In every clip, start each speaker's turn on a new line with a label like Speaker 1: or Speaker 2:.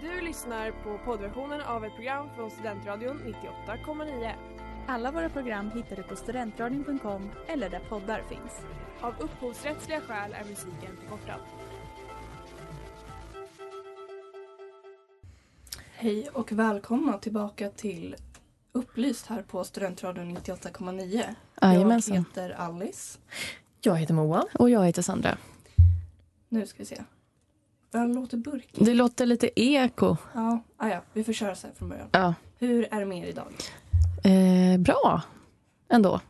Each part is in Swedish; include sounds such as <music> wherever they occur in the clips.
Speaker 1: Du lyssnar på poddversionen av ett program från Studentradion 98,9.
Speaker 2: Alla våra program hittar du på studentradion.com eller där poddar finns.
Speaker 1: Av upphovsrättsliga skäl är musiken förkortad.
Speaker 3: Hej och välkomna tillbaka till Upplyst här på Studentradion 98,9. Jag
Speaker 4: Jajamensan.
Speaker 3: heter Alice.
Speaker 4: Jag heter Moa. Och jag heter Sandra.
Speaker 3: Nu ska vi se. Den låter burkig.
Speaker 4: Det låter lite eko.
Speaker 3: Ja, ah, ja, vi får köra så här från början.
Speaker 4: Ja.
Speaker 3: Hur är det med er idag?
Speaker 4: Eh, bra ändå.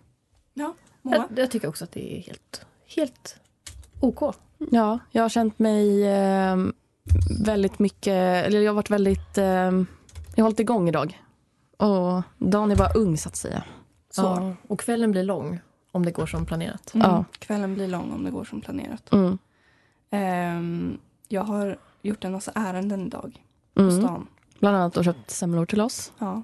Speaker 3: Moa?
Speaker 5: Jag, jag tycker också att det är helt, helt OK.
Speaker 4: Ja, jag har känt mig eh, väldigt mycket, eller jag har varit väldigt, eh, jag har hållit igång idag. Och dagen är bara ung så att säga.
Speaker 3: Så.
Speaker 5: Ja, och kvällen blir lång om det går som planerat.
Speaker 3: Mm.
Speaker 4: Ja.
Speaker 3: Kvällen blir lång om det går som planerat.
Speaker 4: Mm.
Speaker 3: Ehm, jag har gjort en massa ärenden idag på
Speaker 4: Mm.
Speaker 3: stan.
Speaker 4: Bland annat och köpt semlor till oss.
Speaker 3: Ja.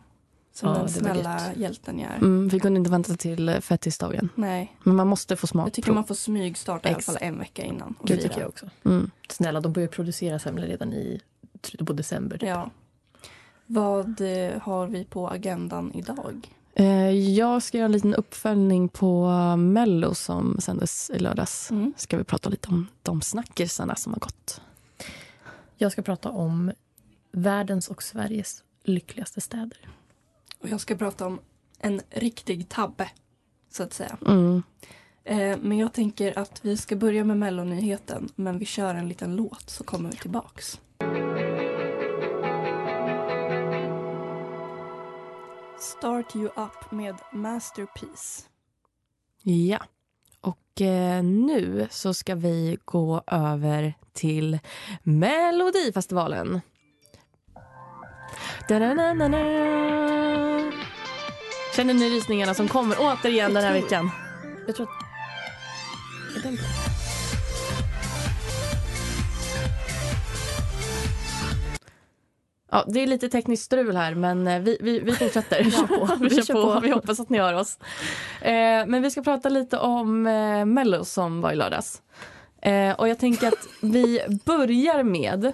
Speaker 3: Som
Speaker 5: Ja, det
Speaker 3: den
Speaker 5: var
Speaker 3: snälla
Speaker 5: gött.
Speaker 3: hjälten jag är.
Speaker 4: Mm, vi kunde inte vänta till eh, fettisdagen.
Speaker 3: Nej,
Speaker 4: Men man måste få
Speaker 3: jag tycker
Speaker 4: smakprov.
Speaker 3: man får smygstarta i alla fall
Speaker 4: Exakt.
Speaker 3: en vecka innan. och
Speaker 5: Det
Speaker 3: fira.
Speaker 5: tycker jag också.
Speaker 4: Mm.
Speaker 5: Snälla, de börjar producera semlor redan i slutet på december. typ.
Speaker 3: Ja. Vad eh, har vi på agendan idag?
Speaker 4: Eh, jag ska göra en liten uppföljning på Mello som sändes i lördags. ska vi prata lite om de snackisarna som har gått.
Speaker 5: Jag ska prata om världens och Sveriges lyckligaste städer.
Speaker 3: Och jag ska prata om en riktig tabbe, så att säga.
Speaker 4: Mm.
Speaker 3: Eh, men jag tänker att vi ska börja med mellonyheten, men vi kör en liten låt så kommer vi tillbaks. Start You Up med Masterpiece.
Speaker 4: Ja. Och eh, nu så ska vi gå över till Melodifestivalen. Da-da-na-na-na. Känner ni rysningarna som kommer återigen den här
Speaker 5: tror-
Speaker 4: veckan?
Speaker 5: Jag tror att... Är den...
Speaker 4: Ja, det är lite tekniskt strul här, men eh, vi, vi, vi fortsätter. vi, kör på. <laughs> vi, kör på. vi hoppas att ni hör oss. Eh, men vi ska prata lite om eh, Mello som var i lördags. Eh, och jag tänker att
Speaker 3: <laughs>
Speaker 4: vi börjar med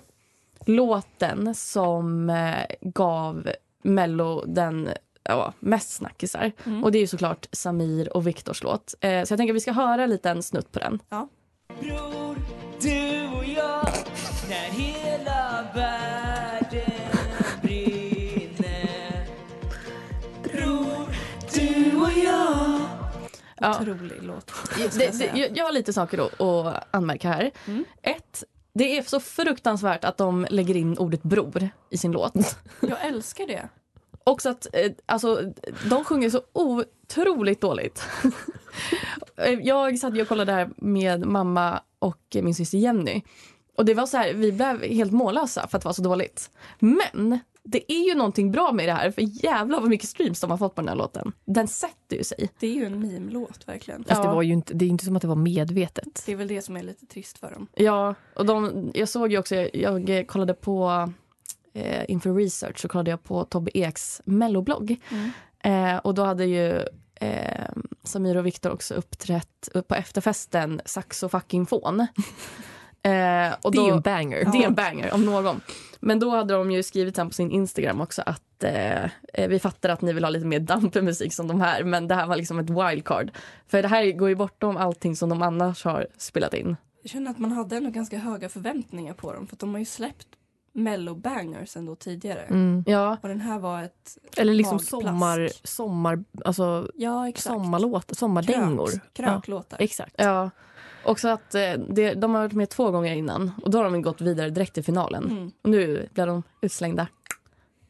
Speaker 4: låten som eh, gav Mello den ja, mest snackisar.
Speaker 3: Mm.
Speaker 4: Och det är ju såklart Samir och Viktors låt. Eh, så jag tänker att vi ska höra en liten snutt på den.
Speaker 6: Bror, du och jag när hela världen brinner Bror, du och jag
Speaker 4: Ja.
Speaker 3: Otrolig låt. ska jag
Speaker 4: det,
Speaker 3: säga.
Speaker 4: det, jag, jag har lite saker då att anmärka här.
Speaker 3: Mm.
Speaker 4: Ett, det är så fruktansvärt att de lägger in ordet bror i sin låt.
Speaker 3: Jag älskar det.
Speaker 4: Också att eh, alltså, de sjunger så otroligt dåligt. <laughs> Eh, jag satt ju och kollade det här med mamma och eh, min syster Jenny. Och det var så här, vi blev helt mållösa för att det var så dåligt. Men det är ju någonting bra med det här för jävlar vad mycket streams de har fått på den här låten. Den sätter ju sig.
Speaker 3: Det är ju en meme-låt verkligen.
Speaker 5: Fast
Speaker 4: Ja.
Speaker 5: det, var ju inte, det är inte som att det var medvetet.
Speaker 3: Det är väl det som är lite trist för dem.
Speaker 4: Ja, och de, jag såg ju också, jag, jag kollade på eh, inför research så kollade jag på Tobbe Eks melloblogg.
Speaker 3: Mm.
Speaker 4: Eh, och då hade ju eh, Samir och Viktor också uppträtt på efterfesten Saxo fucking
Speaker 5: <laughs>
Speaker 4: fån. Eh, och
Speaker 5: det är
Speaker 4: då-
Speaker 5: ju en banger.
Speaker 4: det är en banger om någon. Men då hade de ju skrivit sen på sin Instagram också att eh, eh, vi fattar att ni vill ha lite mer dampig musik som de här men det här var liksom ett wildcard. För det här går ju bortom allting som de annars har spelat in.
Speaker 3: Jag känner att man hade ändå ganska höga förväntningar på dem för att de har ju släppt mellobangers ändå tidigare.
Speaker 5: Mm.
Speaker 4: Ja,
Speaker 3: Och den här var ett,
Speaker 5: Eller liksom
Speaker 3: Magplask.
Speaker 5: sommar, sommar, alltså,
Speaker 3: ja exakt.
Speaker 5: sommarlåt, sommardängor.
Speaker 3: Krök, kröklåtar.
Speaker 5: Ja, exakt.
Speaker 4: Ja. Också att eh, det, de har varit med två gånger innan och då har de gått vidare direkt till finalen.
Speaker 3: Mm.
Speaker 4: Och nu blir de utslängda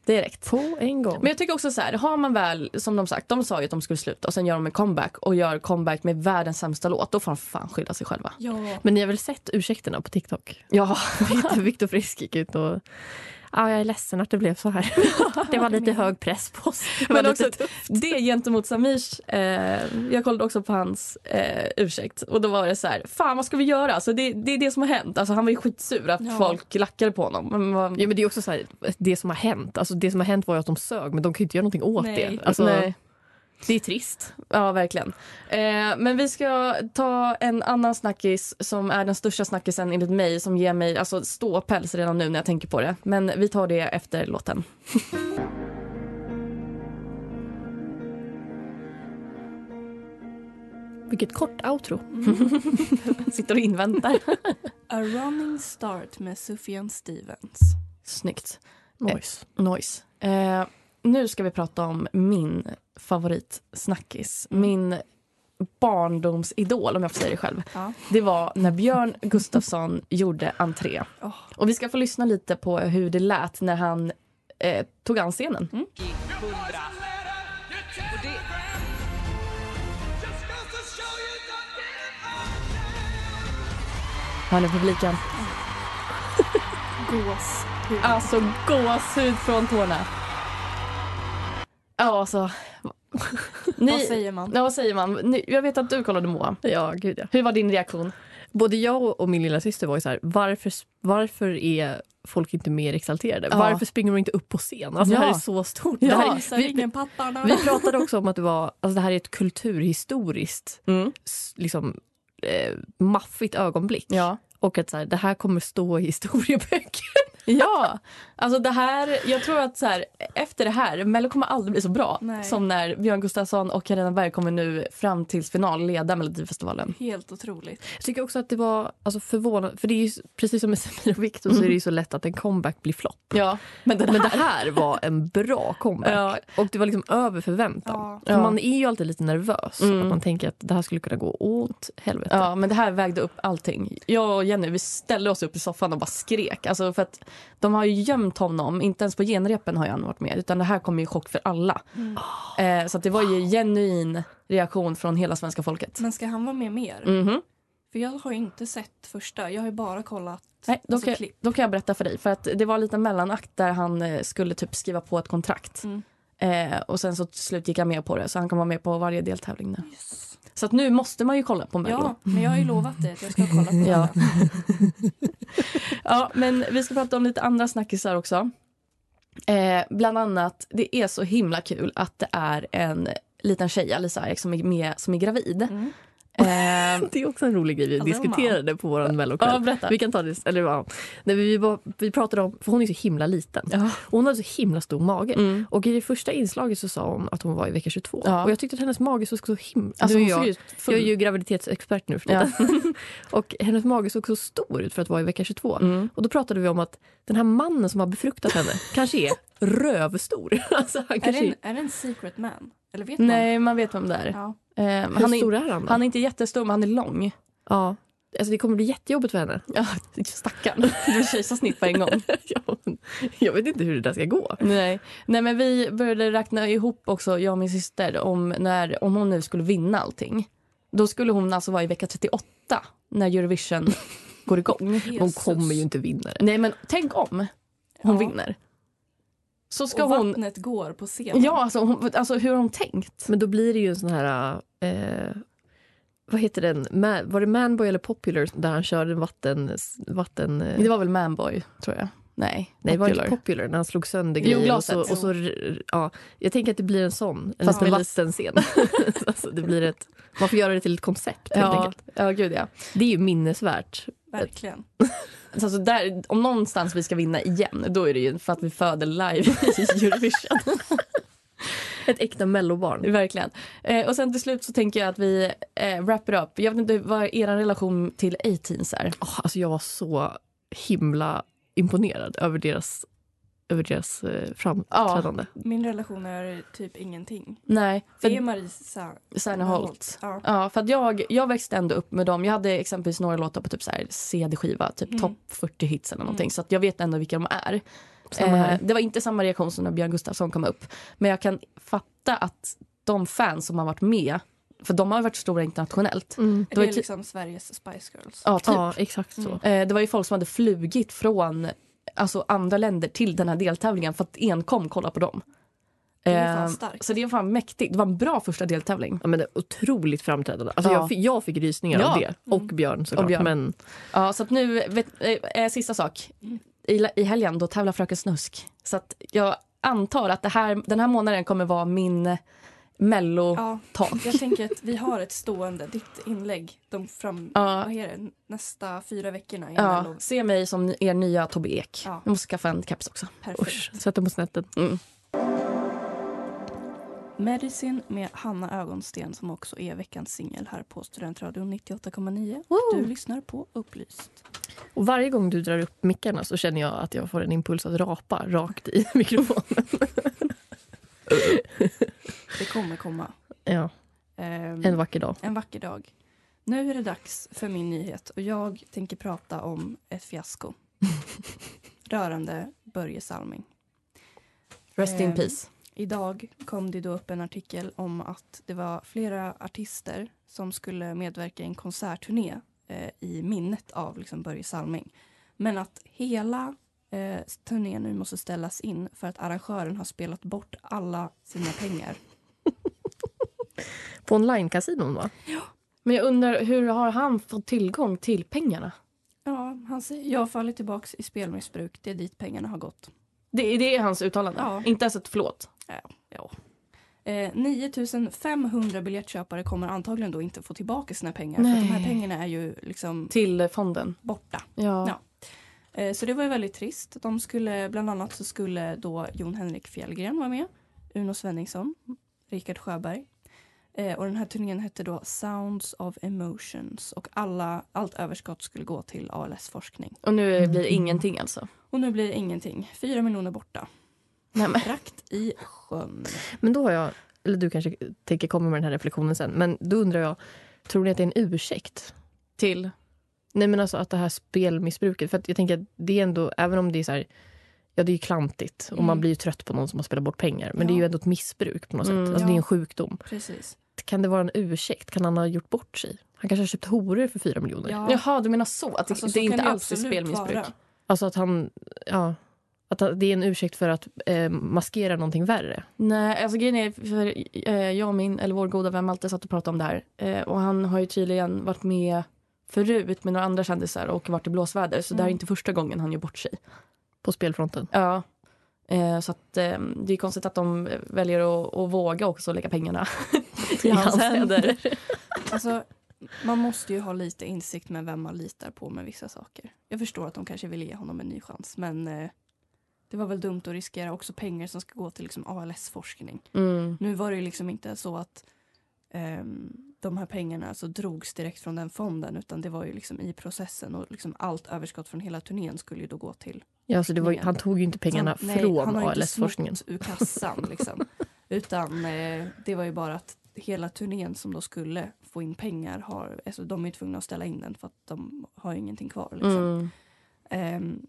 Speaker 4: direkt.
Speaker 5: På en gång.
Speaker 4: Men jag tycker också så här, har man väl, som de sagt, de sa ju att de skulle sluta och sen gör de en comeback och gör comeback med världens sämsta låt, då får de fan skylla sig själva.
Speaker 3: Ja.
Speaker 5: Men ni har väl sett ursäkterna på TikTok?
Speaker 4: <laughs> Ja,
Speaker 5: <laughs> Viktor Frisk gick ut och... Ja, jag är ledsen att det blev så här. Det var lite hög press på oss. Det var
Speaker 4: men också
Speaker 5: lite-
Speaker 4: det gentemot Samirs, eh, jag kollade också på hans eh, ursäkt och då var det så här, fan vad ska vi göra? Alltså det, det är det som har hänt. Alltså han var ju skitsur att
Speaker 3: Ja.
Speaker 4: folk lackade på honom. Men vad-
Speaker 5: Ja, men det är också så här, det som har hänt. Alltså, det som har hänt var ju att de sög, men de kan ju inte göra någonting åt
Speaker 3: Nej.
Speaker 5: det. Alltså,
Speaker 4: Nej.
Speaker 5: Det är trist.
Speaker 4: Ja, verkligen. Eh, men vi ska ta en annan snackis som är den största snackisen enligt mig som ger mig alltså, ståpäls redan nu när jag tänker på det. Men vi tar det efter låten.
Speaker 5: Vilket kort outro.
Speaker 4: Sitter och
Speaker 5: <laughs>
Speaker 4: inväntar.
Speaker 3: A running start med Sufjan Stevens.
Speaker 4: Snyggt.
Speaker 5: Mojs.
Speaker 4: Noise. Eh, nu ska vi prata om min favoritsnackis.
Speaker 5: Mm.
Speaker 4: Min barndomsidol, om jag får säga det själv.
Speaker 3: Ja.
Speaker 4: Det var när Björn Gustafsson gjorde entré.
Speaker 3: Åh.
Speaker 4: Och vi ska få lyssna lite på hur det lät när han eh, tog an
Speaker 5: Mm.
Speaker 4: scenen.
Speaker 6: hundra. Och det...
Speaker 4: Hör ni publiken?
Speaker 3: Gås.
Speaker 4: Alltså gåshud från tårna.
Speaker 3: <laughs>
Speaker 4: Ja, alltså. Ni,
Speaker 3: Vad säger man?
Speaker 4: Ja, vad säger man? Ni, jag vet att du kollade Moa.
Speaker 5: Ja, gud ja.
Speaker 4: Hur var din reaktion?
Speaker 5: Både jag och- och min lilla syster var ju så här, varför, varför är folk inte mer exalterade?
Speaker 4: Ja.
Speaker 5: Varför springer de inte upp på scen? Alltså, Det här
Speaker 4: Ja.
Speaker 5: är så stort. Det här
Speaker 3: Ja,
Speaker 5: är, vi, vi,
Speaker 3: ingen pattarna.
Speaker 5: vi pratade också om att det, var, alltså, det här är ett kulturhistoriskt
Speaker 4: Mm.
Speaker 5: s- liksom, eh, maffigt ögonblick.
Speaker 4: Ja.
Speaker 5: Och att så här, det här kommer stå i historieböcker.
Speaker 4: <laughs> Ja, alltså det här, jag tror att så här, efter det här, Mello kommer aldrig bli så bra
Speaker 3: Nej.
Speaker 4: som när Björn Gustafsson och Carina Berg kommer nu fram till final leda Melodifestivalen.
Speaker 3: Helt otroligt.
Speaker 5: Jag tycker också att det var alltså, förvånande, för det är ju s- precis som med Samir och Viktor så är det ju så lätt att en comeback blir flopp.
Speaker 4: Ja, men den
Speaker 5: Men
Speaker 4: Mm. här,
Speaker 5: det här var en bra comeback. Och det var liksom över förväntan.
Speaker 3: Ja.
Speaker 5: För
Speaker 4: Ja. Mm.
Speaker 5: Man är ju alltid lite nervös. Att man tänker att det här skulle kunna gå åt helvete.
Speaker 4: ja,
Speaker 3: Typ.
Speaker 4: men det här vägde upp allting. Jag och Jenny vi ställde oss upp i soffan och bara skrek. Alltså för att de har ju gömt honom, inte ens på genrepen har han varit med utan det här kom ju i chock för alla.
Speaker 3: Mm.
Speaker 4: Eh, så att det var ju genuin reaktion från hela svenska folket.
Speaker 3: Men ska han vara med mer?
Speaker 4: Mhm.
Speaker 3: För jag har ju inte sett första. Jag har ju bara kollat
Speaker 4: Nej, då,
Speaker 3: alltså,
Speaker 4: kan,
Speaker 3: klipp.
Speaker 4: då kan jag berätta för dig. För att Det var en liten mellanakt där han eh, skulle typ skriva på ett kontrakt.
Speaker 3: Mm.
Speaker 4: Eh, och sen så till slut gick han med på det, så han kan vara med på varje deltävling nu. Så att nu måste man ju kolla på Mello.
Speaker 3: Ja, men jag har ju lovat dig att jag ska kolla på
Speaker 4: <laughs> Ja.
Speaker 3: ja.
Speaker 4: Ja, men vi ska prata om lite andra snackisar också. Eh, bland annat, det är så himla kul att det är en liten tjej, Alisa Ajax, som är med, som är gravid.
Speaker 3: Mm.
Speaker 4: Eh,
Speaker 5: Det är också en rolig grej vi
Speaker 3: Alltså,
Speaker 5: diskuterade på vår
Speaker 4: ja,
Speaker 5: mellokväll.
Speaker 4: berätta.
Speaker 5: Vi kan ta det, eller ja. Nej, men vi, var, vi pratade om, för hon är så himla liten.
Speaker 4: Ja.
Speaker 5: Och Hon hade så himla stor mage.
Speaker 4: Mm.
Speaker 5: Och i det första inslaget så sa hon att hon var i vecka 22.
Speaker 4: Ja.
Speaker 5: Och jag tyckte att hennes mage såg så himla...
Speaker 4: Alltså,
Speaker 5: Nu
Speaker 4: hon såg
Speaker 5: är jag,
Speaker 4: ut
Speaker 5: jag är
Speaker 4: full.
Speaker 5: ju graviditetsexpert nu för tiden. <laughs>
Speaker 4: <laughs>
Speaker 5: och hennes mage såg så stor ut för att vara i vecka 22.
Speaker 4: Mm.
Speaker 5: Och då pratade vi om att den här mannen som har befruktat henne kanske är rövstor. <laughs> alltså han
Speaker 3: Är,
Speaker 5: kanske
Speaker 3: det en, är det en secret man? Eller vet
Speaker 4: Nej, man vet vem det är.
Speaker 3: man? Ja.
Speaker 4: Eh,
Speaker 5: Hur
Speaker 4: han,
Speaker 5: stor
Speaker 4: är
Speaker 5: är han då?
Speaker 4: han är inte jättestor, men han är lång.
Speaker 5: Ja. Alltså det kommer bli jättejobbigt för henne. <laughs>
Speaker 4: Ja, stackarn. <laughs> Det blir kejsarsnitt på en gång.
Speaker 5: Ja, men jag vet inte hur det där ska gå.
Speaker 4: Nej. Nej, men vi började räkna ihop också, jag och min syster, om, när, om hon nu skulle vinna allting. Då skulle hon alltså vara i vecka 38 när Eurovision går igång.
Speaker 5: Hon kommer ju inte vinna det.
Speaker 4: Nej, men tänk om hon
Speaker 3: Ja.
Speaker 4: vinner. Så ska
Speaker 3: och
Speaker 4: hon...
Speaker 3: vattnet går på scenen.
Speaker 4: Ja, alltså, hon, alltså hur har hon tänkt?
Speaker 5: Men då blir det ju en sån här... Eh, vad heter den? Ma- var det Manboy eller Popular där han körde en vatten... vatten eh,
Speaker 4: Det var väl Manboy, tror jag. Nej,
Speaker 5: Nej, var det inte
Speaker 4: Popular.
Speaker 5: Popular när han slog sönder
Speaker 4: Jo,
Speaker 5: grejer? och
Speaker 4: glaset.
Speaker 5: så, och så, r- ja, jag tänker att det blir en sån, en
Speaker 4: Fast
Speaker 5: liten
Speaker 4: med
Speaker 5: vattenscen. <laughs> alltså, det blir ett, man får göra det till ett koncept helt
Speaker 4: Ja,
Speaker 5: enkelt.
Speaker 4: ja, gud ja.
Speaker 5: Det är ju minnesvärt.
Speaker 3: Verkligen.
Speaker 4: Så alltså där, om någonstans vi ska vinna igen, då är det ju för att vi föder live
Speaker 5: <laughs>
Speaker 4: i Eurovision.
Speaker 5: Ett äkta mellobarn.
Speaker 4: Verkligen. Eh, och sen till slut så tänker jag att vi eh, wrap it up. Jag vet inte vad er relation till A-teens är.
Speaker 5: Oh, alltså jag var så himla imponerad över deras, över deras eh, framträdande.
Speaker 3: Min relation är typ ingenting.
Speaker 4: Nej,
Speaker 3: Det är
Speaker 4: för
Speaker 3: Marisa
Speaker 4: Sanna Holt.
Speaker 3: Ja.
Speaker 4: Ja, för att jag, jag växte ändå upp med dem. Jag hade exempelvis några låtar på typ så här CD-skiva, typ topp 40 hits eller någonting. Så att jag vet ändå vilka de är. Eh,
Speaker 5: Samma här.
Speaker 4: det var inte samma reaktion som när Björn Gustafsson kom upp. Men jag kan fatta att de fans som har varit med, för de har varit stora internationellt.
Speaker 3: Det,
Speaker 4: var
Speaker 3: är
Speaker 4: ju ty-
Speaker 3: liksom Sveriges Spice Girls.
Speaker 4: typ- Ja, typ.
Speaker 5: Ja, exakt så.
Speaker 4: Eh, Det var ju folk som hade flugit från alltså, andra länder till den här deltävlingen för att enkom kolla på dem.
Speaker 3: Det är fan
Speaker 4: Eh,
Speaker 3: starkt.
Speaker 4: Så det är fan mäktigt. Det var en bra första deltävling.
Speaker 5: Ja, men det är otroligt framträdande. Alltså
Speaker 4: Ja.
Speaker 5: jag, fick, jag fick rysningar
Speaker 4: Ja. Mm.
Speaker 5: av det. Och Björn såklart.
Speaker 4: Och Björn.
Speaker 5: Men
Speaker 4: Ja, så att nu, vet, eh, eh, sista sak. I, I helgen då tävlar Fröken Snusk. Så att jag antar att det här, den här månaden kommer vara min mello
Speaker 3: Ja,
Speaker 4: tak.
Speaker 3: jag tänker att vi har ett stående, ditt inlägg, de fram,
Speaker 4: Ja.
Speaker 3: vad är det, nästa fyra veckorna.
Speaker 4: Ja,
Speaker 3: Ja.
Speaker 4: se mig som ni- er nya Tobbe Ek.
Speaker 3: Ja.
Speaker 4: Jag måste skaffa en keps också.
Speaker 3: Perfekt.
Speaker 5: Usch, sätta på snätten.
Speaker 4: Mm.
Speaker 3: Medicin med Hanna Ögonsten som också är veckans singel här på Studentradion 98,9. Du lyssnar på Upplyst.
Speaker 5: Och varje gång du drar upp mickarna så känner jag att jag får en impuls att rapa rakt i <laughs> mikrofonen.
Speaker 3: Det kommer komma.
Speaker 5: Ja,
Speaker 3: Ehm,
Speaker 5: en vacker dag.
Speaker 3: en vacker dag. Nu är det dags för min nyhet och jag tänker prata om ett
Speaker 4: <laughs>
Speaker 3: fiasko rörande Börje Salming.
Speaker 4: Rest in
Speaker 3: Ehm,
Speaker 4: peace.
Speaker 3: Idag kom det då upp en artikel om att det var flera artister som skulle medverka i en konsertturné eh, i minnet av liksom Börje Salming. Men att hela eh, turnén nu måste ställas in för att arrangören har spelat bort alla sina pengar.
Speaker 5: På online-kasinon, va?
Speaker 4: Men jag undrar, hur har han fått tillgång till pengarna?
Speaker 3: Ja, han säger jag har fallit tillbaka i spelmissbruk. Det är dit pengarna har gått.
Speaker 4: Det, det är hans uttalande.
Speaker 3: Ja.
Speaker 4: Inte ens ett förlåt.
Speaker 3: Eh, 9 500 biljettköpare kommer antagligen då inte få tillbaka sina pengar. För att de
Speaker 4: Nej.
Speaker 3: här pengarna är ju liksom
Speaker 4: Till eh, fonden.
Speaker 3: borta.
Speaker 4: Ja.
Speaker 3: Ja. Eh, Så det var ju väldigt trist. De skulle, bland annat så skulle då Jon Henrik Fjällgren vara med, Uno Svenningsson, Richard Sjöberg. Eh, Och den här turnén hette då Sounds of Emotions och alla, allt överskott skulle gå till ALS-forskning.
Speaker 4: Och nu eh,
Speaker 3: Mm.
Speaker 4: blir det ingenting alltså.
Speaker 3: Och nu blir det ingenting. Fyra miljoner borta.
Speaker 4: Nej, men.
Speaker 3: Rakt i sjön.
Speaker 5: Men då har jag, eller du kanske tänker komma med den här reflektionen sen, men då undrar jag, tror ni att det är en ursäkt?
Speaker 4: Till.
Speaker 5: Nej men alltså att det här spelmissbruket, för att jag tänker att det är ändå, även om det är så här, ja det är ju klantigt och man blir ju trött på någon som har spelat bort pengar, men det är ju
Speaker 3: Ja.
Speaker 5: ändå ett missbruk på något
Speaker 4: Mm.
Speaker 5: sätt. Alltså det är en sjukdom.
Speaker 3: Precis.
Speaker 5: Kan det vara en ursäkt? Kan han ha gjort bort sig? Han kanske har köpt horor för fyra miljoner.
Speaker 3: Ja.
Speaker 4: Jaha, du menar så? Att det,
Speaker 3: Alltså, så
Speaker 4: det är
Speaker 3: kan
Speaker 4: inte
Speaker 3: det
Speaker 4: alls ett
Speaker 3: absolut
Speaker 4: spelmissbruk?
Speaker 3: vara.
Speaker 5: Alltså att han, ja, att han- det är en ursäkt för att eh, maskera någonting värre.
Speaker 4: Nej, alltså grejen är för eh, jag och min, eller vår goda vän Malte satt och pratade om det här. Eh, och han har ju tydligen varit med förut med några andra kändisar och varit i blåsväder. Så det här
Speaker 5: Mm.
Speaker 4: är inte första gången han gör bort sig.
Speaker 5: På spelfronten.
Speaker 4: Ja. Eh, så att eh, det är konstigt att de väljer att, att våga också lägga pengarna <laughs> i hans händer.
Speaker 3: Alltså, man måste ju ha lite insikt med vem man litar på med vissa saker. Jag förstår att de kanske vill ge honom en ny chans men eh, det var väl dumt att riskera också pengar som ska gå till liksom ALS-forskning.
Speaker 4: Mm.
Speaker 3: Nu var det ju liksom inte så att ehm, de här pengarna alltså drogs direkt från den fonden utan det var ju liksom i processen och liksom allt överskott från hela turnén skulle ju då gå till
Speaker 5: Ja, alltså det var, ju- han tog ju inte pengarna
Speaker 3: så han- nej,
Speaker 5: från
Speaker 3: han har ju inte
Speaker 5: ALS-forskningen.
Speaker 3: snott ur kassan
Speaker 4: <laughs>
Speaker 3: liksom. Utan eh, det var ju bara att hela turnén som då skulle få in pengar har, alltså de är ju tvungna att ställa in den för att de har ju ingenting kvar liksom.
Speaker 4: Mm.
Speaker 3: Ehm,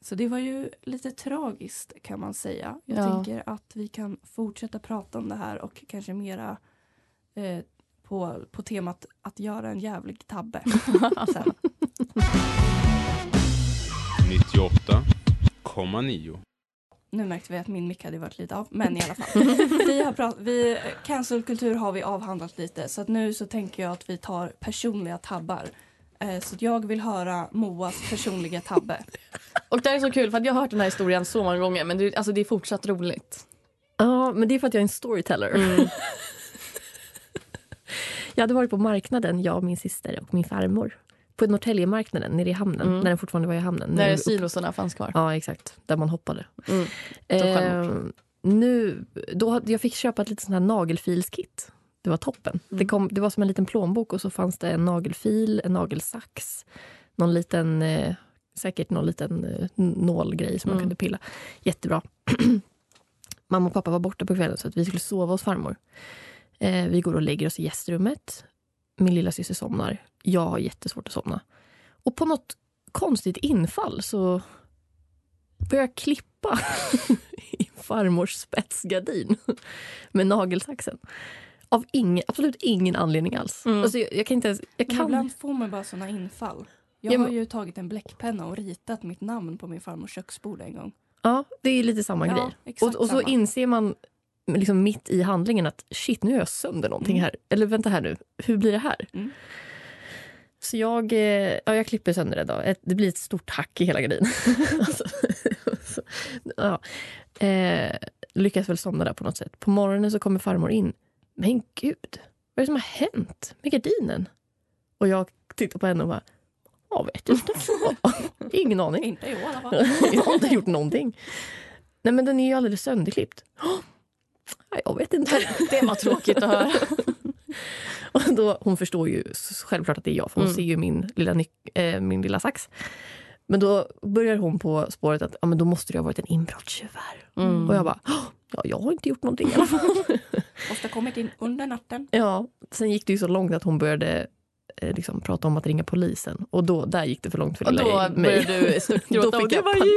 Speaker 3: så det var ju lite tragiskt kan man säga. Jag
Speaker 4: Ja.
Speaker 3: tänker att vi kan fortsätta prata om det här och kanske mera eh, på, på temat att göra en jävlig
Speaker 4: <laughs>
Speaker 3: tabbe. Sen.
Speaker 7: 98,9.
Speaker 3: Nu märkte vi att min mick hade varit lite av, men i alla
Speaker 5: <laughs>
Speaker 3: fall. vi har prat, vi, cancelkultur har vi avhandlat lite så att nu så tänker jag att vi tar personliga tabbar. Eh, så att jag vill höra Moas personliga tabbe.
Speaker 4: Och det här är så kul för att jag har hört den här historien så många gånger men det, alltså, det är fortsatt roligt. Mm.
Speaker 5: Ja, men det är för att jag är en storyteller. <laughs> jag hade varit på marknaden, jag och min syster och min farmor. På Norrtäljemarknaden nere i hamnen, när den fortfarande var i hamnen.
Speaker 4: När
Speaker 5: Nu-
Speaker 4: silosarna fanns kvar.
Speaker 5: Ja, exakt. Där man hoppade.
Speaker 4: Mm.
Speaker 5: Eh, nu, då, hade- jag fick köpa ett litet sånt här nagelfilskit. Det var toppen.
Speaker 4: Mm.
Speaker 5: Det, kom, det var som en liten plånbok och så fanns det en nagelfil, en nagelsax, någon liten, eh, säkert någon liten eh, nålgrej som man
Speaker 4: Mm.
Speaker 5: kunde pilla. Jättebra. <clears throat> Mamma och pappa var borta på kvällen så att vi skulle sova hos farmor. Eh, vi går och lägger oss i gästrummet. Min lilla syster somnar. Jag har jättesvårt att somna. Och på något konstigt infall så börjar jag klippa <laughs> i farmors spetsgardin med nagelsaxen. Av ingen, absolut ingen anledning alls. Alltså jag, jag kan inte ens... Jag
Speaker 3: Mm. Men
Speaker 5: kan...
Speaker 3: ibland får man bara såna infall. Jag
Speaker 5: Ja, men-
Speaker 3: har ju tagit en bläckpenna och ritat mitt namn på min farmors köksbord en gång.
Speaker 5: Ja, det är lite samma
Speaker 3: Ja,
Speaker 5: grej.
Speaker 3: exakt
Speaker 5: Och, och så
Speaker 3: samma.
Speaker 5: inser man liksom mitt i handlingen att shit, nu gör jag sönder någonting här. Eller vänta här nu, hur blir det här?
Speaker 3: Mm.
Speaker 5: Så jag, eh, ja, jag klipper sönder det då. Ett, det blir ett stort hack i hela gardinen.
Speaker 3: <laughs>
Speaker 5: <laughs> alltså, så, ja. eh, lyckas väl somna där på något sätt. På morgonen så kommer farmor in men gud, vad är det som har hänt med gardinen? Och jag tittar på henne och bara, ja
Speaker 3: <laughs>
Speaker 5: vet inte. <laughs> Ingen aning.
Speaker 3: Inte i år i alla
Speaker 5: <laughs>
Speaker 3: fall.
Speaker 5: jag har inte gjort någonting. Nej men den är ju alldeles sönderklippt. <gasps> Ja, jag vet inte.
Speaker 4: Det var tråkigt att höra.
Speaker 5: Och då, hon förstår ju s- självklart att det är jag, för hon
Speaker 4: Mm.
Speaker 5: ser ju min lilla, nyc- eh, min lilla sax. Men då börjar hon på spåret att ja, men då måste det ha varit en inbrottstjuv här.
Speaker 4: Mm.
Speaker 5: Och jag bara, "Åh, ja, jag har inte gjort någonting i alla fall. <laughs>
Speaker 3: Måste ha kommit in under natten.
Speaker 5: ja, sen gick det ju så långt att hon började eh, liksom, prata om att ringa polisen. Och då, där gick det för långt för
Speaker 4: Och
Speaker 5: lilla
Speaker 4: då
Speaker 5: mig.
Speaker 4: började du stort
Speaker 5: Då
Speaker 4: gråta
Speaker 5: fick
Speaker 4: och du
Speaker 5: jag
Speaker 4: bara
Speaker 5: panik.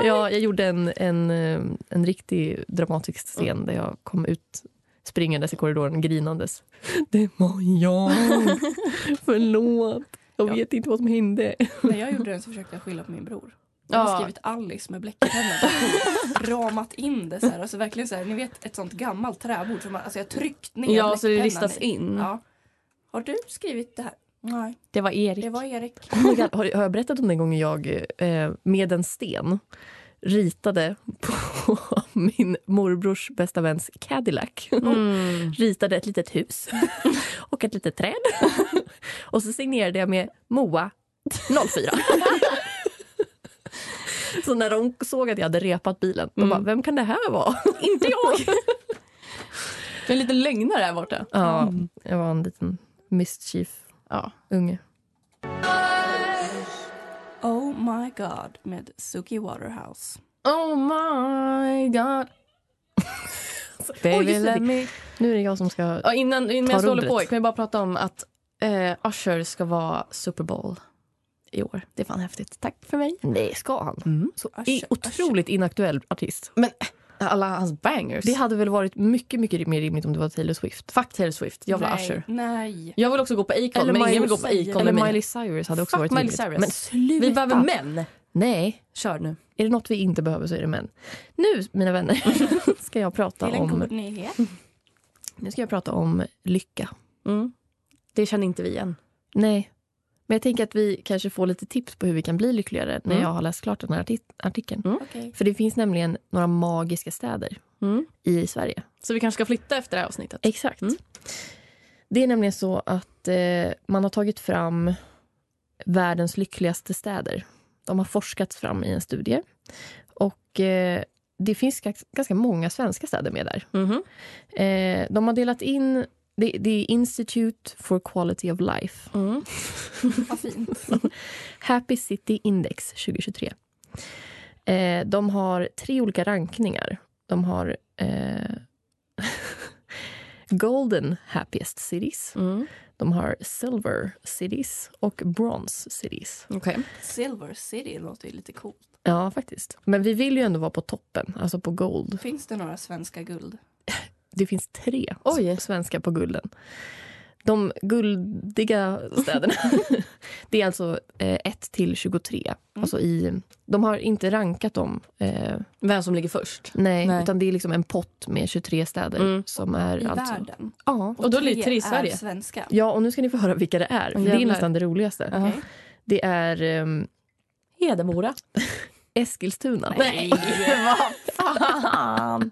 Speaker 4: ja!
Speaker 5: Ja, jag gjorde en, en, eh, en riktig dramatisk scen där jag kom ut springandes i korridoren <laughs> grinandes. Det var jag! <laughs> Förlåt! Jag
Speaker 3: Ja.
Speaker 5: vet inte vad som hände.
Speaker 3: När jag gjorde den så försökte jag skylla på min bror. Jag
Speaker 4: Ja.
Speaker 3: har skrivit Alice med bläckpenna. Ramat in det så här. Alltså verkligen så här, ni vet ett sånt gammalt träbord som man, alltså jag har tryckt ner
Speaker 4: Ja, så det
Speaker 3: bläckpennan
Speaker 4: ristas
Speaker 3: i.
Speaker 4: in.
Speaker 3: Ja. Har du skrivit det här? Nej,
Speaker 4: Det var Erik.
Speaker 3: det var Erik.
Speaker 5: <laughs> Oh my God. Har, har jag berättat om den gången jag eh, med en sten ritade på <laughs> min morbrors bästa väns Cadillac?
Speaker 4: Mm.
Speaker 5: ritade ett litet hus <laughs> och ett litet <laughs> träd. Och så signerade jag med Moa <laughs> 04. Så när de såg att jag hade repat bilen, de bara, vem kan det här vara?
Speaker 4: Inte jag! Det är en liten lögnare här borta.
Speaker 5: Ja, jag var en liten mischief
Speaker 4: Ja.
Speaker 5: unge.
Speaker 3: Oh my god med Suki Waterhouse.
Speaker 4: Oh my <laughs> god.
Speaker 5: Oj,
Speaker 4: Baby
Speaker 5: just det.
Speaker 4: let me...
Speaker 5: Nu är det jag som ska...
Speaker 4: Ja, innan innan
Speaker 5: Ta
Speaker 4: jag håller
Speaker 5: rodret.
Speaker 4: på kan vi bara prata om att eh, Usher ska vara Super Bowl i år. Det är fan häftigt. Tack för mig.
Speaker 5: Nej, ska han? Så i,
Speaker 3: Usher,
Speaker 5: Mm. otroligt inaktuell artist.
Speaker 4: Alla hans bangers.
Speaker 5: Det hade väl varit mycket, mycket mer rimligt om det var Taylor Swift.
Speaker 4: Fuck Taylor Swift. Jag vill ha
Speaker 3: Nej,
Speaker 4: Usher.
Speaker 3: Nej.
Speaker 4: Jag vill också gå på Acon,
Speaker 5: Eller
Speaker 4: men ingen
Speaker 5: Miley-
Speaker 4: vill gå på Acon
Speaker 5: Eller
Speaker 4: med mig.
Speaker 5: Miley Cyrus hade också
Speaker 4: Fuck
Speaker 5: varit
Speaker 4: Miley
Speaker 5: rimligt.
Speaker 4: Cyrus.
Speaker 5: Men sluta!
Speaker 4: Vi behöver män.
Speaker 5: Nej,
Speaker 4: Kör nu.
Speaker 5: Är det något vi inte behöver så är det män. Nu, mina vänner, <laughs> ska jag prata
Speaker 3: Till en
Speaker 5: om,
Speaker 3: god nyhet.
Speaker 5: nu ska jag prata om lycka.
Speaker 4: Mm. Det känner inte vi än.
Speaker 5: Nej, men jag tänker att vi kanske får lite tips på hur vi kan bli lyckligare när
Speaker 4: Mm.
Speaker 5: jag har läst klart den här arti- artikeln.
Speaker 4: Mm.
Speaker 3: Okej.
Speaker 5: För det finns nämligen några magiska städer
Speaker 4: Mm.
Speaker 5: i Sverige.
Speaker 4: Så vi kanske ska flytta efter det här avsnittet.
Speaker 5: Exakt.
Speaker 4: Mm.
Speaker 5: Det är nämligen så att eh, man har tagit fram världens lyckligaste städer. De har forskats fram i en studie. Och eh, det finns gans- ganska många svenska städer med där.
Speaker 4: Mhm.
Speaker 5: Eh, de har delat in... Det, det är Institute for Quality of Life. <laughs>
Speaker 4: Mm.
Speaker 3: Vad fint.
Speaker 5: Happy City Index 2023. Eh, de har tre olika rankningar. De har eh, <laughs> Golden Happiest Cities,
Speaker 4: Mm.
Speaker 5: de har Silver Cities och Bronze Cities.
Speaker 4: Okej.
Speaker 3: Silver City låter ju lite coolt.
Speaker 5: Ja, faktiskt. Men vi vill ju ändå vara på toppen, alltså på Gold.
Speaker 3: Finns det några svenska guld?
Speaker 5: Det finns tre
Speaker 4: Oj.
Speaker 5: s- svenska på gulden. De guldiga
Speaker 4: <laughs>
Speaker 5: städerna. det är alltså eh, 1 till 23.
Speaker 4: Mm.
Speaker 5: Alltså i, de har inte rankat dem. Eh,
Speaker 4: Vem som ligger först.
Speaker 5: nej,
Speaker 4: Nej.
Speaker 5: utan det är liksom en pott med 23 städer
Speaker 4: Mm.
Speaker 5: som är
Speaker 3: I
Speaker 5: alltså...
Speaker 3: världen?
Speaker 5: Ja.
Speaker 4: Och då är det tre i
Speaker 3: är
Speaker 4: Sverige.
Speaker 3: svenska.
Speaker 5: ja, och nu ska ni få höra vilka det är. För det är
Speaker 4: Jävlar.
Speaker 5: nästan det roligaste.
Speaker 4: Okej.
Speaker 5: Det är ehm,
Speaker 4: Hedemora.
Speaker 5: Eskilstuna.
Speaker 4: Nej, vad fan!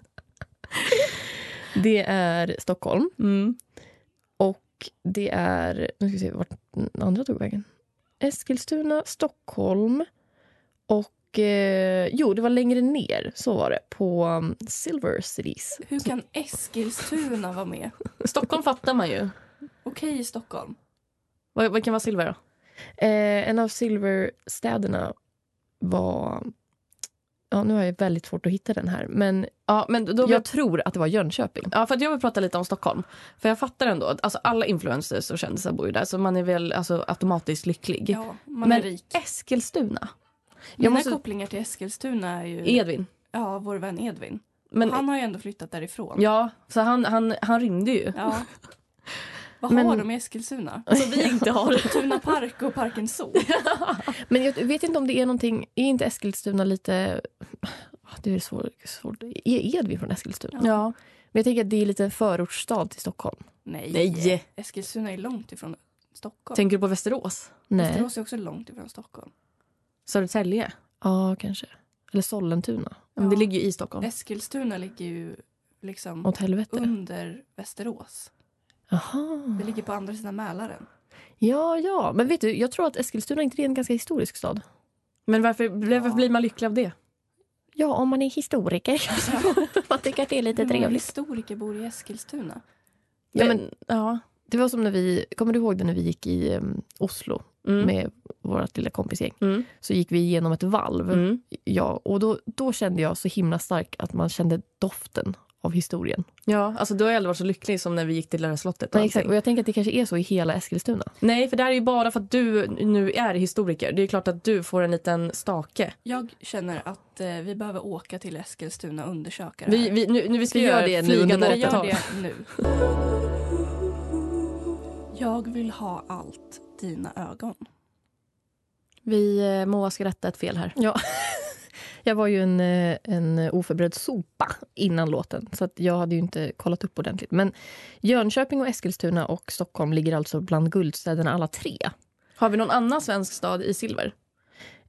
Speaker 5: Det är Stockholm.
Speaker 4: Mm.
Speaker 5: Och det är... Nu ska vi se vart den andra tog vägen. Eskilstuna, Stockholm och... Eh, jo, det var längre ner. Så var det. På um, Silver Cities.
Speaker 3: Hur kan Eskilstuna vara med?
Speaker 4: Stockholm fattar man ju.
Speaker 3: Okej Stockholm.
Speaker 4: Vad, vad kan vara silver då?
Speaker 5: Eh, en av Silver-städerna var... Ja, nu har jag väldigt svårt att hitta den här. Men
Speaker 4: Ja, men då
Speaker 5: jag tror att det var Jönköping.
Speaker 4: Ja, för att jag vill prata lite om Stockholm. För jag fattar ändå, att, alltså alla influencers och kändisar bor ju där så man är väl alltså, automatiskt lycklig.
Speaker 3: Ja, man
Speaker 4: Men
Speaker 3: är rik.
Speaker 4: Eskilstuna?
Speaker 3: Mina
Speaker 5: måste-
Speaker 3: kopplingar till Eskilstuna är ju
Speaker 4: Edvin.
Speaker 3: ja, vår vän Edvin.
Speaker 4: Men,
Speaker 3: han har ju ändå flyttat därifrån.
Speaker 4: Ja, så han, han, han rymde ju. <laughs>
Speaker 3: Ja. Vad
Speaker 5: Men-
Speaker 3: har de i Eskilstuna?
Speaker 4: Som vi
Speaker 3: <laughs>
Speaker 4: inte har.
Speaker 3: Tuna Park och Parken
Speaker 4: <laughs>
Speaker 3: Zoo.
Speaker 5: Men jag vet inte om det är någonting... Är inte Eskilstuna lite... Ah, Det är svårt. svårt. Är Edvin från Eskilstuna?
Speaker 4: Ja.
Speaker 5: Men jag tänker att det är lite en förortsstad till Stockholm.
Speaker 3: Nej.
Speaker 4: Nej.
Speaker 3: Eskilstuna är långt ifrån Stockholm.
Speaker 4: Tänker du på Västerås?
Speaker 5: Nej.
Speaker 3: Västerås är också långt ifrån Stockholm.
Speaker 4: Södertälje?
Speaker 5: Ja, kanske. Eller Sollentuna.
Speaker 3: Eh.
Speaker 4: Ja. Men det ligger ju i Stockholm.
Speaker 3: Eskilstuna ligger ju liksom,
Speaker 5: Åt helvete.
Speaker 3: under Västerås.
Speaker 5: Jaha.
Speaker 3: Det ligger på andra sidan Mälaren.
Speaker 5: Ja, ja. Men vet du, jag tror att Eskilstuna inte är en ganska historisk stad.
Speaker 4: Men varför, varför blir man lycklig av det?
Speaker 5: Ja, om man är <laughs> historiker. man tycker att det är lite
Speaker 3: Hur många
Speaker 5: trevligt.
Speaker 3: historiker bor i Eskilstuna?
Speaker 5: Ja, men,
Speaker 4: men, ja.
Speaker 5: det var som när vi, kommer du ihåg det när vi gick i eh, Oslo
Speaker 4: Mm.
Speaker 5: med vårt lilla kompisgäng?
Speaker 4: Mm.
Speaker 5: Så gick vi igenom ett valv.
Speaker 4: Mm.
Speaker 5: Ja, och då, då kände jag så himla starkt att man kände doften av historien.
Speaker 4: ja, alltså du har jag aldrig varit så lycklig som när vi gick till Lärare slottet. och
Speaker 5: Nej,
Speaker 4: allting.
Speaker 5: exakt. Och jag tänker att det kanske är så i hela Eskilstuna.
Speaker 4: Nej, för det här är ju bara för att du nu är historiker. Det är ju klart att du får en liten stake.
Speaker 3: Jag känner att eh, vi behöver åka till Eskilstuna och undersöka det
Speaker 4: Vi,
Speaker 3: här.
Speaker 4: vi, nu, nu, vi ska
Speaker 5: Vi
Speaker 4: göra
Speaker 5: gör det nu
Speaker 4: flygande
Speaker 5: under
Speaker 3: Vi gör
Speaker 4: återtal.
Speaker 3: det nu. Jag vill ha allt dina ögon.
Speaker 4: Vi, eh, Moa ska rätta ett fel här.
Speaker 5: Ja. <laughs> Jag var ju en, eh, en oförberedd sopa innan låten, så att jag hade ju inte kollat upp ordentligt. Men Jönköping, och Eskilstuna och Stockholm ligger alltså bland guldstäderna alla tre.
Speaker 4: Har vi någon annan svensk stad i silver?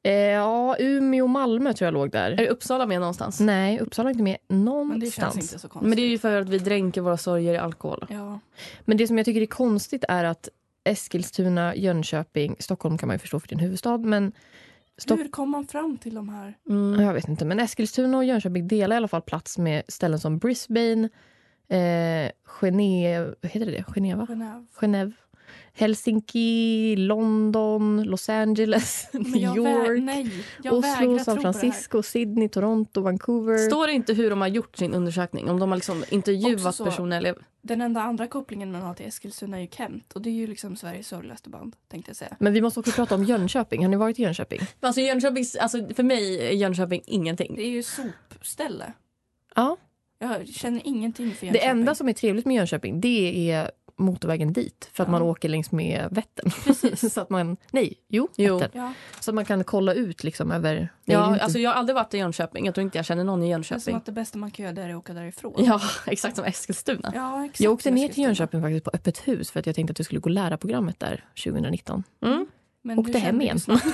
Speaker 5: Eh, ja, Umeå och Malmö tror jag låg
Speaker 4: Är
Speaker 5: där.
Speaker 4: Uppsala med någonstans?
Speaker 5: Nej, Uppsala är inte med
Speaker 3: Men det känns
Speaker 5: någonstans.
Speaker 3: inte så konstigt.
Speaker 4: Men det är ju för att vi dränker våra sorger i alkohol.
Speaker 3: Ja,
Speaker 5: Men det som jag tycker är konstigt är att Eskilstuna, Jönköping, Stockholm kan man ju förstå för din huvudstad, men Stopp.
Speaker 3: Hur kom man fram till de här?
Speaker 5: Ja, Jag vet inte, men Eskilstuna och Jönköping delar i alla fall plats med ställen som Brisbane, eh, Genève, heter det det? Geneva? <laughs>
Speaker 3: Genève.
Speaker 5: Genève, Helsinki, London, Los Angeles,
Speaker 3: <laughs> Men jag
Speaker 5: New
Speaker 3: vä-
Speaker 5: York,
Speaker 3: nej, jag
Speaker 5: Oslo,
Speaker 3: vägrar
Speaker 5: San
Speaker 3: tro på
Speaker 5: Francisco, Sydney, Toronto, Vancouver.
Speaker 4: Står det inte hur de har gjort sin undersökning? Om de har liksom
Speaker 3: Också
Speaker 4: intervjuat
Speaker 3: så-
Speaker 4: personer? Eller...
Speaker 3: det här. Den enda andra kopplingen man har till Eskilstuna är ju Kent och det är ju liksom Sveriges sorgligaste band tänkte jag säga.
Speaker 5: Men vi måste också prata om Jönköping. Har ni varit i Jönköping?
Speaker 4: Alltså, Jönköping, alltså, för mig är Jönköping
Speaker 3: Det
Speaker 4: ingenting.
Speaker 3: är ju sopställe.
Speaker 5: Ja.
Speaker 3: Jag känner ingenting för
Speaker 5: Det
Speaker 3: Jönköping.
Speaker 5: enda som är trevligt med Jönköping det är motorvägen dit för att
Speaker 3: Ja.
Speaker 5: man åker längs med Vättern. <laughs> så att man, nej, jo,
Speaker 4: Jo.
Speaker 5: Vättern.
Speaker 3: Ja, så
Speaker 5: Så att man kan kolla ut liksom över... det är ju
Speaker 4: Ja,
Speaker 5: inte-
Speaker 4: alltså, jag har aldrig varit i Jönköping. Jag tror inte jag känner någon i
Speaker 3: som
Speaker 4: Jönköping.
Speaker 3: att det bästa man kan göra där är att åka därifrån.
Speaker 4: Ja, <laughs> exakt som Eskilstuna.
Speaker 3: Ja, exakt.
Speaker 5: jag åkte ner till
Speaker 3: Eskilstuna.
Speaker 5: Jönköping faktiskt på öppet hus för att jag tänkte att jag skulle gå lärarprogrammet där 2019.
Speaker 3: Men
Speaker 5: åkte
Speaker 3: du
Speaker 5: hem
Speaker 3: kände
Speaker 5: igen. <laughs>
Speaker 3: ju snabbt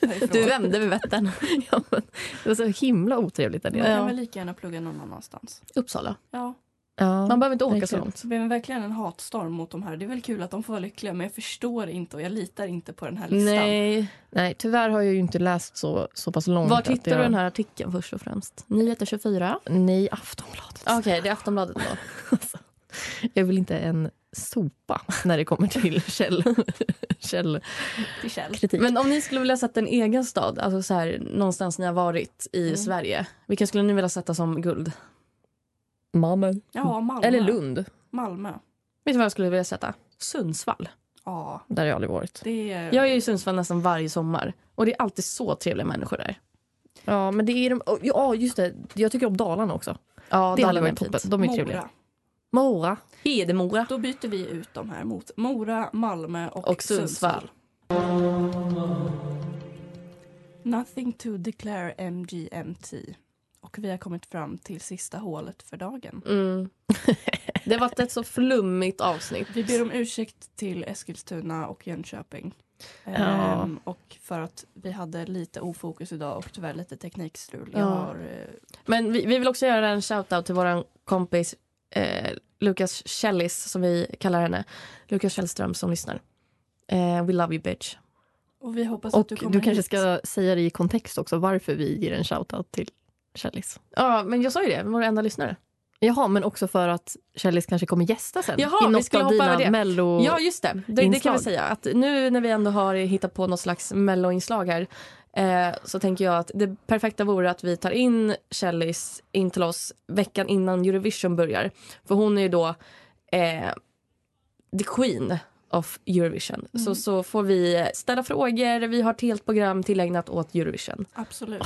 Speaker 3: därifrån.
Speaker 4: Du vände vid Vättern.
Speaker 5: ja, men, det var så himla otrevligt där
Speaker 3: Man
Speaker 5: nere.
Speaker 3: kan
Speaker 4: Ja.
Speaker 3: väl lika gärna plugga någon annanstans.
Speaker 4: Uppsala.
Speaker 3: Ja,
Speaker 5: Ja.
Speaker 4: Man behöver inte åka
Speaker 5: Verkligen.
Speaker 4: så långt.
Speaker 3: så blir det verkligen en hatstorm mot de här. Det är väl kul att de får vara lyckliga men jag förstår inte och jag litar inte på den här listan.
Speaker 4: Nej.
Speaker 5: Nej, tyvärr har jag ju inte läst så, så pass långt.
Speaker 4: Var
Speaker 5: att
Speaker 4: hittar
Speaker 5: jag...
Speaker 4: du den här artikeln först och främst? Nyheter 24?
Speaker 5: Nej, Aftonbladet.
Speaker 4: Okej, det är Aftonbladet då.
Speaker 5: Alltså, jag vill inte en sopa när det kommer <laughs> till käll... källkritik.
Speaker 3: Till Kjell.
Speaker 4: Men om ni skulle vilja sätta en egen stad, alltså så här, någonstans ni har varit i
Speaker 5: Mm.
Speaker 4: Sverige. Vilken skulle ni vilja sätta som guld?
Speaker 5: Malmö.
Speaker 3: Ja, Malmö.
Speaker 5: Eller Lund.
Speaker 3: Malmö.
Speaker 4: Vet du vad jag skulle vilja sätta? Sundsvall.
Speaker 3: Ja,
Speaker 5: Där har jag aldrig varit.
Speaker 3: det är...
Speaker 4: Jag är i Sundsvall nästan varje sommar. Och det är alltid så trevliga människor där.
Speaker 5: Ja, men det är de... Ja, just det. Jag tycker om Dalarna också.
Speaker 4: Ja,
Speaker 5: det hade
Speaker 4: Dalarna är
Speaker 5: varit
Speaker 4: fint.
Speaker 5: toppen. De är trevliga.
Speaker 3: Mora.
Speaker 5: Mora.
Speaker 4: Hedemora.
Speaker 3: Då byter vi ut de här mot Mora, Malmö och,
Speaker 4: Och Sundsvall.
Speaker 3: Nothing to declare MGMT. Och vi har kommit fram till sista hålet för dagen.
Speaker 5: <laughs>
Speaker 4: Mm. Det har varit ett så flummigt avsnitt.
Speaker 3: Vi ber om ursäkt till Eskilstuna och Jönköping.
Speaker 5: Ja.
Speaker 3: Ehm, och för att vi hade lite ofokus idag och tyvärr lite teknikstrul.
Speaker 4: Ja.
Speaker 3: Jag har, eh,
Speaker 4: Men vi, vi vill också göra en shoutout till vår kompis eh, Lukas Källis, som vi kallar henne. Lukas Källström som lyssnar. Eh, we love you bitch.
Speaker 3: och vi hoppas
Speaker 5: Och
Speaker 3: att du
Speaker 5: du,
Speaker 3: kommer
Speaker 5: kanske
Speaker 3: hit.
Speaker 5: ska säga det i kontext också, varför vi ger en shoutout till Källis.
Speaker 4: Ja, men jag sa ju det, vår enda lyssnare.
Speaker 5: Jaha, men också för att Källis kanske kommer gästa sen
Speaker 4: Jaha,
Speaker 5: i
Speaker 4: vi
Speaker 5: något
Speaker 4: skulle
Speaker 5: av
Speaker 4: hoppa
Speaker 5: dina
Speaker 4: över det.
Speaker 5: mello...
Speaker 4: ja, just det. Det, det kan
Speaker 5: inslag.
Speaker 4: vi säga. Att nu när vi ändå har hittat på något slags melloinslag här eh, så tänker jag att det perfekta vore att vi tar in Källis in till oss veckan innan Eurovision börjar. För hon är ju då eh, the queen of Eurovision. Så, så får vi ställa frågor. Vi har ett helt program tillägnat åt Eurovision.
Speaker 3: Absolut.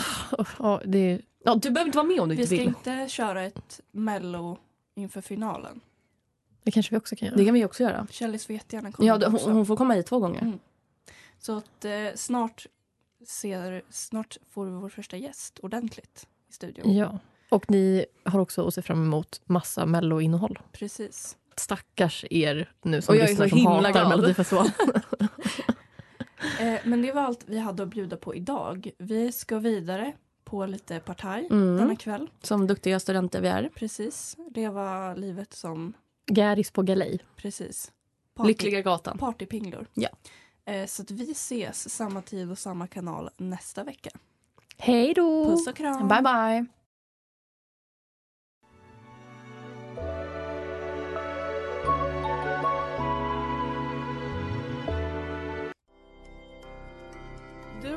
Speaker 5: Ja, det är...
Speaker 4: Ja, du behöver inte vara med om du
Speaker 3: Vi
Speaker 4: inte
Speaker 3: ska
Speaker 4: vill.
Speaker 3: inte köra ett mello inför finalen.
Speaker 5: Det kanske vi också kan göra.
Speaker 4: Det kan vi också göra.
Speaker 3: Källis får jättegärna komma
Speaker 4: Ja,
Speaker 3: hit
Speaker 4: du-
Speaker 3: också.
Speaker 4: hon, hon får komma hit två gånger.
Speaker 3: Mm. Så att eh, snart, ser, snart får vi vår första gäst ordentligt i
Speaker 4: Mm.
Speaker 3: studion.
Speaker 5: Ja. Och ni har också att se fram emot massa melloinnehåll.
Speaker 3: Precis.
Speaker 5: Stackars er nu som
Speaker 4: Och jag är
Speaker 5: lyssnar
Speaker 4: så
Speaker 5: som
Speaker 4: himla
Speaker 5: hatar
Speaker 4: glad. <laughs>
Speaker 5: Melodifestivalen.
Speaker 3: Eh, men det var allt vi hade att bjuda på idag. Vi ska vidare på lite partaj
Speaker 4: Mm.
Speaker 3: denna kväll.
Speaker 4: Som duktiga studenter vi är.
Speaker 3: Precis. Leva livet som
Speaker 5: Gäris på galej.
Speaker 3: precis
Speaker 4: Lyckliga gatan.
Speaker 3: partypinglor.
Speaker 4: Ja.
Speaker 3: Eh, Så att vi ses samma tid och samma kanal nästa vecka.
Speaker 5: Hej då!
Speaker 3: Puss och kram!
Speaker 4: Bye bye.
Speaker 1: Du